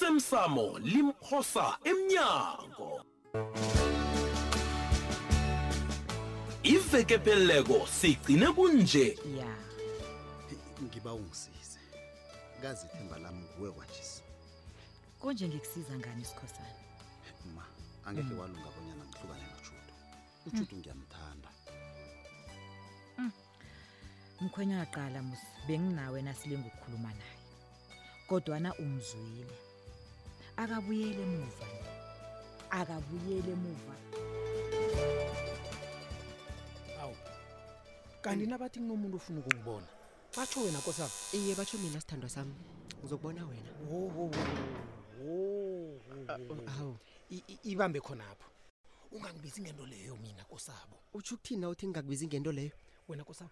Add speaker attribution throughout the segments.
Speaker 1: osemsamo limphosa emnyango iveke peleleko sigcine kunje
Speaker 2: ya
Speaker 3: ngiba ungisize kazi ithemba lami nguwe kwanjesi
Speaker 2: konje ngikusiza ngani isikhosana
Speaker 3: ma angekhe
Speaker 4: Mm.
Speaker 3: walunga bonyana ngihlukane nojudo ujudo ngiyamthanda
Speaker 2: mkhwenya waqala Mm. musi benginawe nasilinga ukukhuluma naye kodwana umzwile akabuyele emuva akabuyele emuva
Speaker 4: awu
Speaker 5: Mm.
Speaker 4: kanti nabathi kunomuntu ofuna ukungibona batsho wena kosabo
Speaker 5: iye batsho mina sithandwa sami ngizokubona wena hawu
Speaker 4: ibambe khonapho ungangibizi ngento leyo mina kosabo
Speaker 5: utsho ukuthini na uthi ngingakubizi ngento leyo
Speaker 4: wena kosabo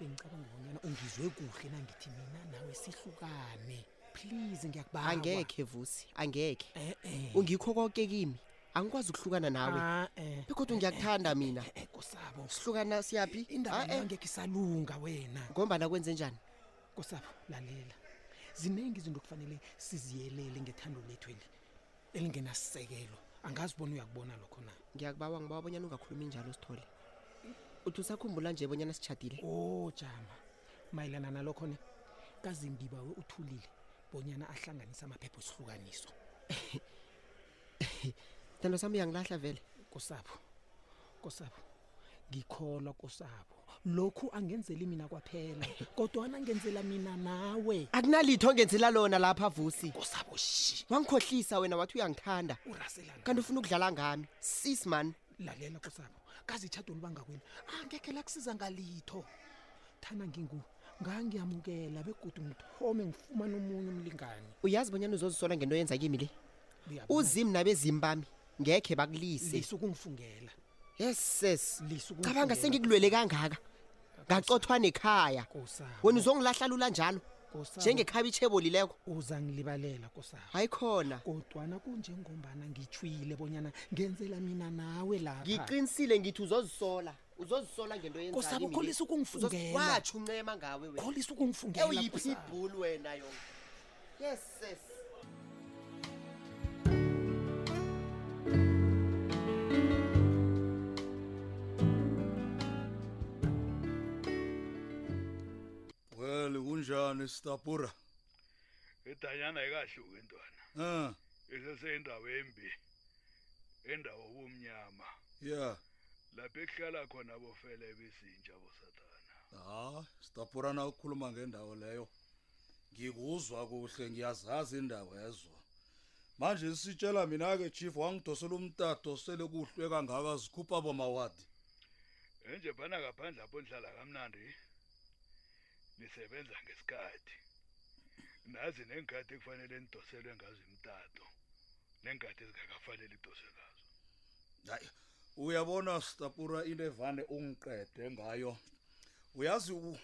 Speaker 4: bengicabanga bonyana ungizwe kuhle nangithi mina nawe sihlukane please ngiyakubawa
Speaker 5: angekhe vusi angekhe
Speaker 4: eh-eh
Speaker 5: ungikho konke kimi angikwazi ukuhlukana nawe
Speaker 4: Ah-eh.
Speaker 5: bekodwa ngiyakuthanda mina
Speaker 4: Eh, kosabo
Speaker 5: sihlukana siyaphi
Speaker 4: indaba
Speaker 5: Ah, eh,
Speaker 4: leyo angekhe isalunga wena
Speaker 5: ngombana kwenze njani
Speaker 4: kosapho lalela ziningi izinto okufanele siziyelele ngethando lethweli elingenasisekelo angazi bona uyakubona lokho na
Speaker 5: ngiyakubawa ngibawa bonyana ungakhulumi njalo sithole uthi usakhumbula nje bonyana sitshadile
Speaker 4: o jama mayelana nalokho-ne kazi ngibawe uthulile bonyana ahlanganise amaphepha esihlukaniso
Speaker 5: sithandwa sami uyangilahla vele
Speaker 4: kosapho kosapho ngikholwa kosapho lokhu angenzeli mina kwaphela kodwana angenzela mina nawe
Speaker 5: akunalitho ongenzela lona lapha vusi
Speaker 4: kosapho shi
Speaker 5: wangikhohlisa wena wathi uyangithanda
Speaker 4: urasela na-
Speaker 5: kanti ufuna ukudlala ngami sis mani
Speaker 4: lalela kosabo kazi itshado libangakwini angekhe lakusiza ngalitho thana ngingu ngangiyamukela begudu ngithome ngifumana omunye umlingani
Speaker 5: uyazi bonyana uzozisola ngento oyenza kimi le
Speaker 4: Uyabona?
Speaker 5: uzim nabezimu bami ngekhe bakulise
Speaker 4: lisu kungifungela
Speaker 5: yeses
Speaker 4: lisu
Speaker 5: cabanga sengikulwele kangaka ngacothwa nekhaya wena uzongilahlala njalo njengekhabitshi ebolileko
Speaker 4: uzangilibalela kosabo
Speaker 5: hayi khona
Speaker 4: kodwana kunjengombana ngitshwile bonyana ngenzela mina nawe lapha
Speaker 5: ngiqinisile ngithi uzozisola uzozisola ngento
Speaker 4: Kosabo, kholisa ukungifungela.
Speaker 5: watsho uncema ngawe wena
Speaker 4: kholisa ukungifungela
Speaker 5: eyiphi
Speaker 4: kosabo.
Speaker 5: ibhulu wena yona yeses
Speaker 6: Well kunjani Stapura?
Speaker 7: idanyana ayikahluki intwana
Speaker 6: Ah,
Speaker 7: iseseyindawo embi indawo womnyama
Speaker 6: yeah.
Speaker 7: lapho ekuhlala khona bofele bezintsha bosathana
Speaker 6: Ah, Stapura na ukukhuluma ngendawo leyo. Ngikuzwa kuhle ngiyazazi indawo ezo. Manje sitshela mina ke chief wangidosela umtato sele kuhlwe kangaka sikhupha bomawadi.
Speaker 7: enje phana ngaphandle apho nihlala kamnandi nisebenza ngesikhathi nazi nenkathi ekufanele nidoselwe ngazo imtato nenkathi ezingakafanele idoswe ngazo
Speaker 6: Hayi. Uyabona Stapura into evane ungiqede ngayo. Uyazi u-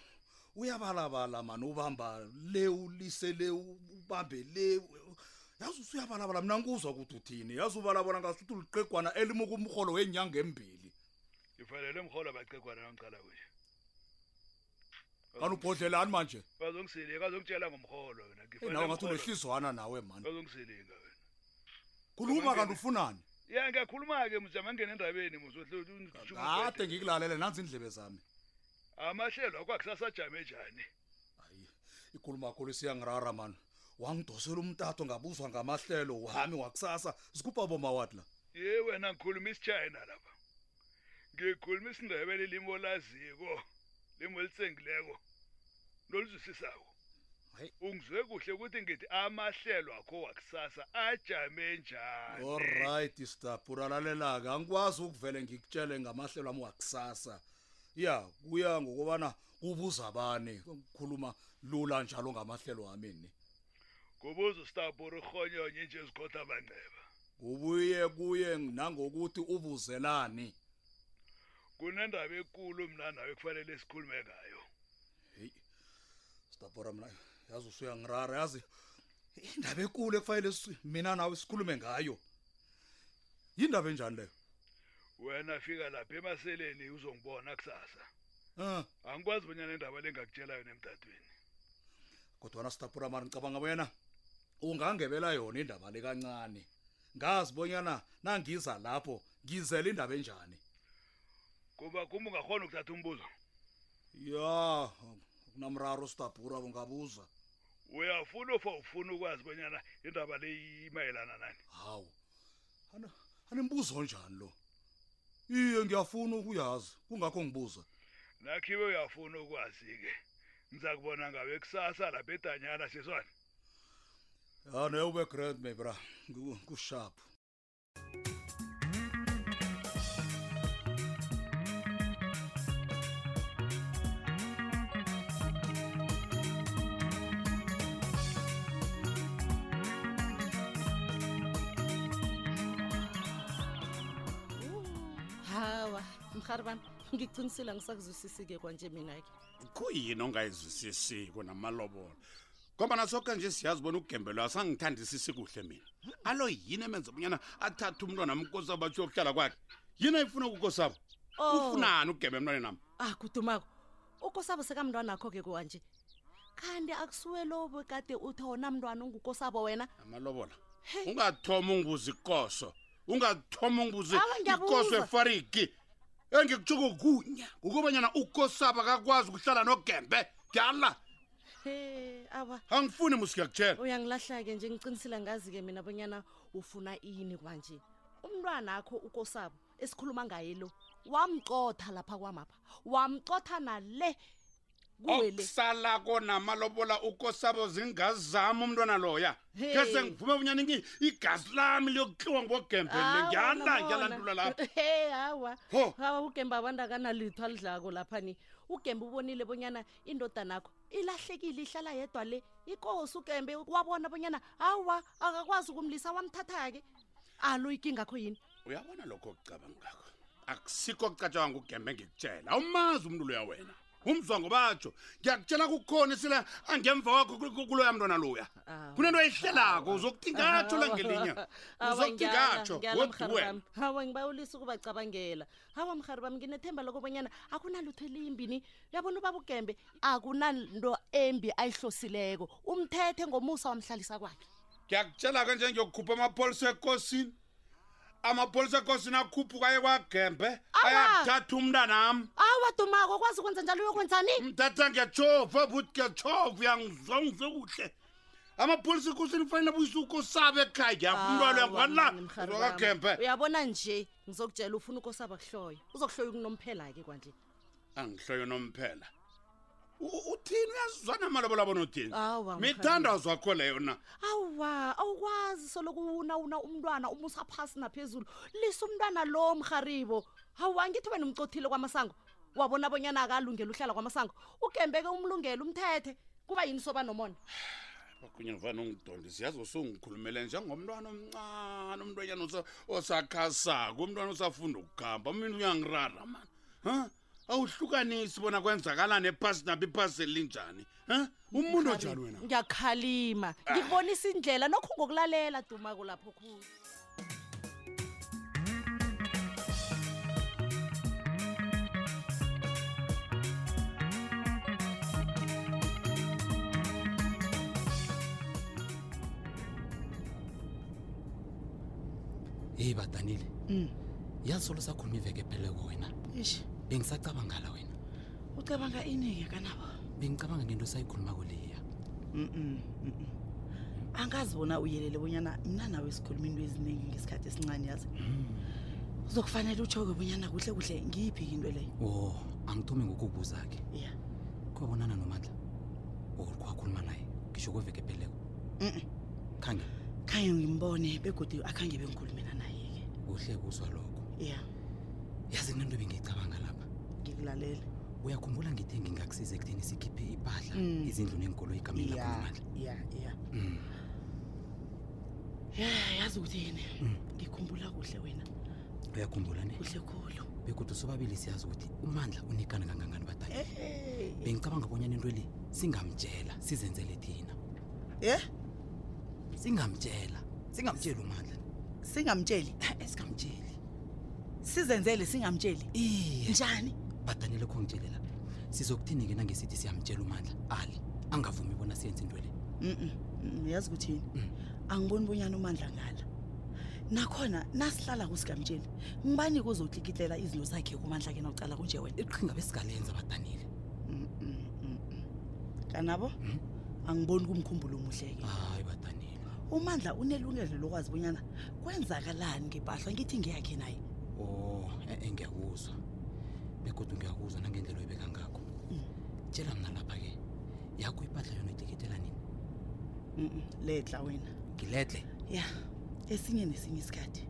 Speaker 6: uyabalabala man ubamba le ulise le ubambe le yazi usuyabalabala mina ngikuzwa ukuthi uthini yazi ubalabala ngasuthi uliqegwana elimuka umholo wenyanga embili
Speaker 7: ifanele mrhola bacegwana nomcala kunje
Speaker 6: kanti ubhodlelani manje
Speaker 7: bazongisilinga bazongitshela ngomrholo wena
Speaker 6: Eh, nawe ngathi unehlizwana nawe man
Speaker 7: bazongisilinga wena
Speaker 6: khuluma kanti ufunani
Speaker 7: ya ngiyakhuluma-ke mjama ngena endabeni
Speaker 6: kade
Speaker 7: musoamahlelo
Speaker 6: ngikulalele nanzi indlebe zami
Speaker 7: akwakusasajame njani
Speaker 6: hayi ikhuluma kakhulu isiyangirara man wangidosela umtato ngabuzwa ngamahlelo wami wakusasa sikhupha bomawadi la
Speaker 7: ye wena ngikhuluma isitshayina lapha ngikhuluma isindebele limo laziko limo litsengileko nolizwisisako
Speaker 6: Hayi.
Speaker 7: ungizwe kuhle ukuthi ngithi amahlelo akho wakusasa ajame njani
Speaker 6: Alright Stapura lalela ke angikwazi ukuvele ngikutshele ngamahlelo ami wakusasa. Ya kuya ngokubana kubuza abane ukukhuluma lula njalo ngamahlelo ami ni.
Speaker 7: kubuza ustabur urhonyonye nje ezikhotha abanceba
Speaker 6: Kubuye kuye nangokuthi ubuzelani.
Speaker 7: kunendaba enkulu mna nawe kufanele sikhulume ngayo
Speaker 6: Hey. Stapura mina yazi usuyangirara yazi indaba enkulu efanele si- mina nawe sikhulume ngayo. Indaba enjani leyo?
Speaker 7: wena fika lapha emaseleni uzongibona kusasa
Speaker 6: Ah.
Speaker 7: angikwazi bonyana indaba lengakutshela yona emtatweni
Speaker 6: kodwana sitapura mani ngicabanga wena ungangebela yona indaba lekancane ngazi bonyana nangiza lapho ngizela indaba enjani
Speaker 7: kuba kum ungakhona ukuthatha umbuzo
Speaker 6: ya kunamraro sitabhura ungabuza
Speaker 7: uyafuna ufa ufuna ukwazi bonyana indaba le imayelana nani
Speaker 6: hawu ana animbuzo njani lo iye ngiyafuna ukuyazi kungakho ngibuza
Speaker 7: nakhibe uyafuna ukwazi-ke ngiza kubona ngawe kusasa lapha edanyana siswane
Speaker 6: ya ne ube grand my bra Ngu- kusharp
Speaker 8: hawa mhari bami ngikuqinisile ngisakuzwisisi-ke kwanje mina-ke
Speaker 9: kuyini ongayizwisisiko namalobolo ngoba nasoke nje siyazi bona ugembelo asangithandisisi kuhle mina alo yini emenza obunyana athathe umntwana mkosi abatsho yokuhlala kwakhe yini ayifuna kukosabo
Speaker 8: Oh.
Speaker 9: ufunani ugebe emntwane nami
Speaker 8: ah kudumako ukosabo sekamntwana akho-ke kwanje kanti akusuwe lobo kade uthi wona mntwana ungukosabo wena
Speaker 9: amalobola
Speaker 8: Hey.
Speaker 9: ungathoma ungibuza ikoso ungathoma ungibuza
Speaker 8: Awa, ngiyabuza.
Speaker 9: ikoso efariki engikutshuko kunya ukubanyana ukosaba kakwazi ukuhlala nogembe ngala
Speaker 8: he aba
Speaker 9: angifuni musikuyakutshela
Speaker 8: uyangilahla-ke nje ngicinisile ngazi-ke mina bonyana ufuna ini kwanje umntwana akho ukosabo esikhuluma ngaye lo wamcotha lapha kwamapha wamcotha nale kuwe le
Speaker 9: okusala konamalobola ukosabo zingazama umntwana loya
Speaker 8: Hey.
Speaker 9: kese ngiphume bunyana ingi- igazi lami liyokutliwa ngogembele ngiyala ngiyalantula lapha
Speaker 8: Ah, he hawa
Speaker 9: Ho.
Speaker 8: hawa ugembe abantu akanalitho alidlako laphani ugembe ubonile bonyana indoda nakho ilahlekile ihlala yedwa le ikosi ugembe wabona bonyana hawa akakwazi ukumlisa wamthatha-ke alo ikinga kho yini
Speaker 9: uyabona lokho okucabanga ngakho akusikho okucatshanga ngugembe ngikutshela awumazi umntu loya wena umzwango batsho ngiyakutshela kukhona sila angemva kwakho kul- kul- kuloya mntwana loya
Speaker 8: Awu.
Speaker 9: kunento ayihlelako uzokuthi ngatsho langelinye uzokuthi ngatsho wodiwena
Speaker 8: hawa ngibayolisa ukubacabangela hawa mhari bami nginethemba lokobonyana akunalutho elimbini uyabona ubaba ugembe akunanto embi ayihlosileko umthethe ngomusa wamhlalisa kwakhe
Speaker 9: ngiyakutshela-ke nje ngiyokukhupha amapolisa ekosini amapolisa ekosini akhuphuka aye kwagembe ayakuthatha umntanami
Speaker 8: awa dumako kwazi ukwenza njalo uyokwenzani
Speaker 9: mtata ngiyatshova buti ngiyatshova uyangizwangize kuhle amapolisa ekosini kufanele buyise ukosabe ekhaya ngiyafumntwalo yakwanla wakagembe
Speaker 8: uyabona nje ngizokutshela ufuna ukosaba kuhloyo uzokuhloya ukunomphela-ke kwanje
Speaker 9: angihloyo nomphela U- uthini uyazwana amalobola bona uthini
Speaker 8: Awa, mkhaya.
Speaker 9: mithandazo akho leyo na
Speaker 8: awa awukwazi solokuwuna una umntwana umusa phasi naphezulu lisa umntwana lo mharibo hawu angithi wena umcothile kwamasango wabona bonyana akalungele uhlala kwamasango ugembeke umlungele umthethe kuba yini soba nomona
Speaker 9: bakunye ngifana ungidonde siyazi usungikhulumele njengomntwana omncane umntwanyana osa- osakhasako umntwana osafunda ukukhamba mina uyangirara mani ha awuhlukanisi bona kwenzakalani ephasi naphi iphasi elinjani ha umuntu onjani wena
Speaker 8: ngiyakhalima ngikubonisa indlela nokho ngokulalela dumako lapho khulu
Speaker 10: heyi badanile
Speaker 11: Mm.
Speaker 10: yazi solo sakhuluma iveke pheleko wena
Speaker 11: ish
Speaker 10: bengisacabangala wena
Speaker 11: ucabanga ini-ke kanabo
Speaker 10: bengicabanga ngento sayikhuluma kuleya
Speaker 11: Mm-mm, mm-mm. angazi bona uyelele bonyana mna nawe sikhuluma into eziningi ngesikhathi esincane yazi Hmm. uzokufanele utsho-ke bonyana kuhle kuhle ngiyiphi into leyo
Speaker 10: wo angithume ngokubuza ke
Speaker 11: ya
Speaker 10: kubonana nomandla olikho wakhuluma naye ngisho kweveke pheleko
Speaker 11: Mm-mm.
Speaker 10: khange
Speaker 11: khanye ngimbone begodi akhange bengikhulumela naye-ke
Speaker 10: kuhle kuzwa lokho
Speaker 11: ya
Speaker 10: yazi kunento bengiyicabanga lapha
Speaker 11: ngikulalela
Speaker 10: uyakhumbula ngithe ngingakusiza ekutheni sikhiphe ipahla
Speaker 11: Mm.
Speaker 10: izindlu nenkolo igameni
Speaker 11: ya
Speaker 10: lapho nomandla
Speaker 11: ya ya
Speaker 10: Mm.
Speaker 11: ya yazi ukuthi yini
Speaker 10: Mm.
Speaker 11: ngikhumbula kuhle wena
Speaker 10: uyakhumbula ne
Speaker 11: kuhle khulu
Speaker 10: bekodwa sobabili siyazi ukuthi umandla unikana kangangani badalile
Speaker 11: Eh,
Speaker 10: bengicabanga bonyana into le singamtshela sizenzele thina
Speaker 11: Eh?
Speaker 10: singamtshela singamtsheli umandla
Speaker 11: singamtsheli
Speaker 10: Eh, singamtsheli
Speaker 11: sizenzele singamtsheli
Speaker 10: iye
Speaker 11: njani
Speaker 10: badanile kho ngitshele la sizokuthini-ke nangesithi siyamtshela umandla ali angavumi bona siyenze into le
Speaker 11: Mm-mm. Mm, yazi ukuthini angiboni bonyana umandla ngala nakhona nasihlala kusigamtsheli ngibani kuzotlikitlela izinto zakhe kumandla ke nawucala kunje wena
Speaker 10: iqhinga besikalenza badanile
Speaker 11: kanabo angiboni kumkhumbulo omuhle ke
Speaker 10: Mm. hayi badanile
Speaker 11: umandla unelungelo lokwazi bonyana kwenzakalani ngepahla ngithi ngeyakhe naye
Speaker 10: o e-e ngiyakuzwa begodwa ngiyakuzwa nangendlela oyibeka ngakho
Speaker 11: Mm.
Speaker 10: tshela mna lapha-ke yakho ipahla yona itikitela nini
Speaker 11: Mm-mm, ledla wena
Speaker 10: ngiledle
Speaker 11: ya esinye nesinye isikhathi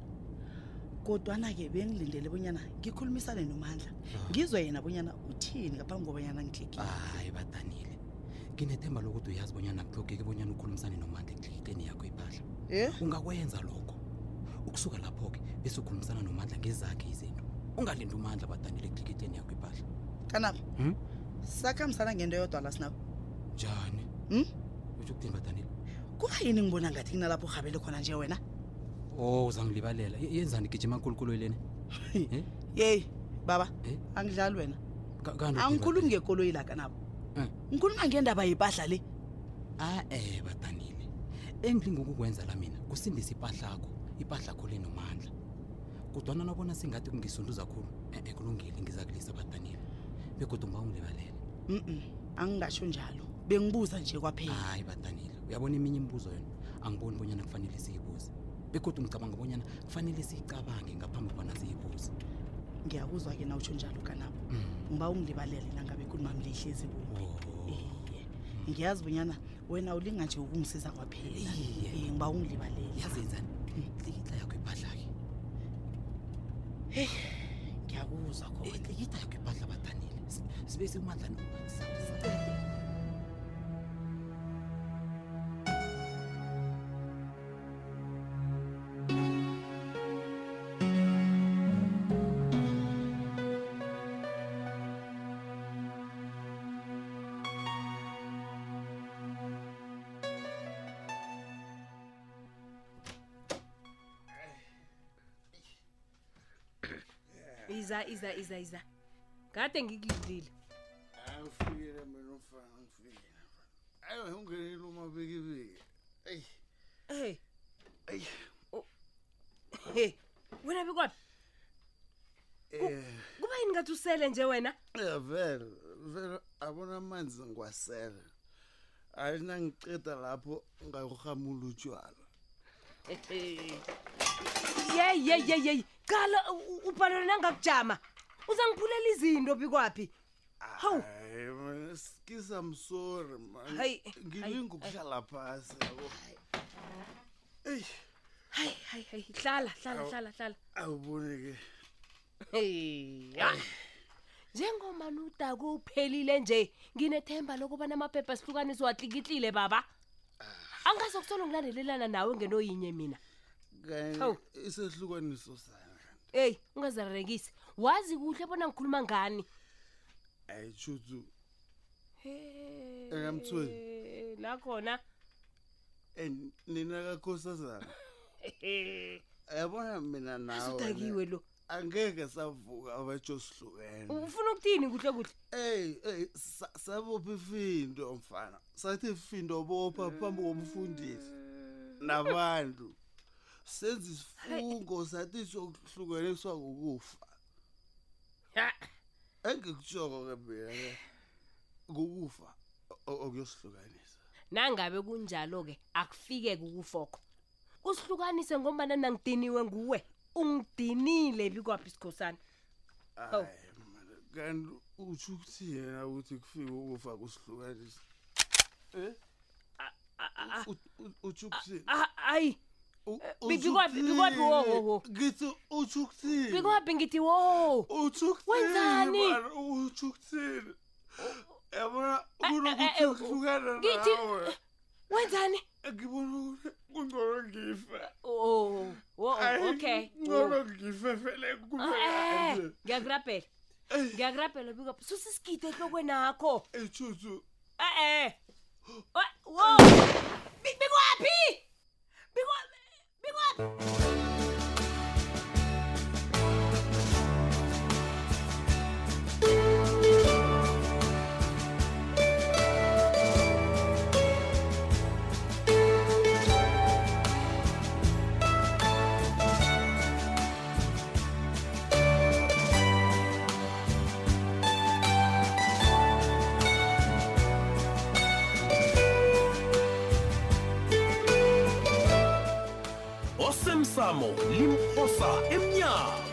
Speaker 11: kodwana-ke bengilindele bonyana ngikhulumisane nomandla ngizwe yena bonyana uthini ngaphambi kobanyana ngiklikile
Speaker 10: hayi badanile nginethemba lokuthi uyazi bonyana kuhlogeki bonyana ukhulumisane nomandla ekutlikiteni yakho ipahla
Speaker 11: Eh?
Speaker 10: ungakwenza lokho ukusuka lapho-ke bese ukhulumisana nomandla ngezakhe izinto ungalindi umandla badanile ekutlikiteni yakho ipahla
Speaker 11: kanabo
Speaker 10: Hmm?
Speaker 11: sakhambisana ngento yodwa la sinawo
Speaker 10: njani
Speaker 11: Hmm?
Speaker 10: utsho ukuthini badanile
Speaker 11: kuba yini ngibona ngathi kunalapho urhabele khona nje wena
Speaker 10: o Oh, uzangilibalela Ye- yenzani gijima nkulunkulu Eh? eleni
Speaker 11: yeyi baba angidlali wena angikhulumi ngekoloyi la kanabo
Speaker 10: Eh.
Speaker 11: ngikhuluma ngendaba yipahla le
Speaker 10: a-e badanile engilingokukwenza eh, la mina kusindisa ipahlakho ipahlakho lenomandla kudwana nabona singathi kungisunduza khulu e-e kulungile ngizakulisa badanile begodwa ngiba ungilibalele
Speaker 11: mm angingasho njalo bengibuza nje kwaphela
Speaker 10: hayi badanile uyabona eminye imibuzo yona angiboni bonyana kufanele siyibuze begodwa ngicabanga bonyana kufanele siyicabange ngaphambi kobana siyibuze
Speaker 11: ngiyakuzwa-ke na utsho njalo kanabo ngiba ungilibalele nangabe ikhuluma mlihle ezibumbi iye ngiyazi bonyana wena ulinga nje ukungisiza kwaphela iye ngiba ungilibalele Hmm.
Speaker 10: yazenzani hlikitla yakho ipahla-ke
Speaker 11: heyi ngiyakuzwa khona
Speaker 10: hlikitla yakho Eh, ipahla badanile S- sibe siumandla
Speaker 12: iza iza iza iza kade ngikulindile
Speaker 13: angifikile mina umfana angifikile ayi ungenile umabikibiki eyi
Speaker 12: hey
Speaker 13: eyi
Speaker 12: he wena bekwaphi
Speaker 13: eh
Speaker 12: kuba yini ngathi usele nje wena
Speaker 13: eh, vele vele abona amanzi ngiwasele hayi nangiceda lapho ngayohamula utshwala
Speaker 12: yeyi yeyi yeyi yeyi cala ubhalelwe nangakujama uzangiphulela izinto bikwaphi hawu
Speaker 13: hayi mina skisamsori man
Speaker 12: Hayi,
Speaker 13: ngilinga ukuhlala phasi yabo eyi
Speaker 12: hayi hayi hayi hlala hlala
Speaker 13: Awu.
Speaker 12: hlala hlala
Speaker 13: awuboni ke
Speaker 12: heya njengomani udake uphelile nje nginethemba lokubana amaphepha sihlukanise watlikitlile baba angazokusola ngilandelelana nawe ngento yinye mina
Speaker 13: kanye
Speaker 12: Hawu.
Speaker 13: isehlukaniso sandla
Speaker 12: eyi ungazarerekisi wazi kuhle bona ngikhuluma ngani
Speaker 13: ayitshutu
Speaker 12: Hey.
Speaker 13: Ekamthweni.
Speaker 12: Eh, la khona
Speaker 13: and Eh, nina kakhosazana yabona mina nawe
Speaker 12: Usudakiwe lo
Speaker 13: angeke savuka abatsho sihlukene
Speaker 12: ufuna ukuthini kuhle kuhle
Speaker 13: eyi eyi sa- sabopha ifindo mfana sathi ifindo bopha phambi komfundisi nabantu senza isifungo sathi sokuhlukaniswa ngokufa engikutshoko ke mina ke ngokufa o- okuyosihlukanisa
Speaker 12: nangabe kunjalo-ke akufike-ke ukufoko usihlukanise ngombana nangidiniwe nguwe ungidinile bikwaphi isikhosana Hawu.
Speaker 13: Hayi, mara, kanti utsho ukuthi yena ukuthi kufike ukufa kusihlukanisa eh utsho ukuthini
Speaker 12: hayi Ah, Eh, bikwaphi bikwaphi wohoho
Speaker 13: ngithi utsho ukuthini
Speaker 12: bikwaphi ngithi wo
Speaker 13: utsho
Speaker 12: wenzani
Speaker 13: utsho ukuthini Eh, yabona kunokuthi
Speaker 12: eh, eh,
Speaker 13: ukuhlukana
Speaker 12: ngithi- Eh,
Speaker 13: nawe
Speaker 12: wenzani
Speaker 13: ngibona ukuthi kungcono ngife
Speaker 12: o
Speaker 13: Hayi,
Speaker 12: Oh, okay
Speaker 13: kungcono ngife vele Eh.
Speaker 12: Ah, eh,
Speaker 13: kube
Speaker 12: ngiyakurabhela ngiyakurabhela bikwaphi susisikido enhlokwenakho
Speaker 13: Eh, ejuthu
Speaker 12: Eh, e-e wo Eh, Bi- bikwaphi bikwaphi bikwaphi
Speaker 14: Thank
Speaker 1: iphakamo limphosa emnyango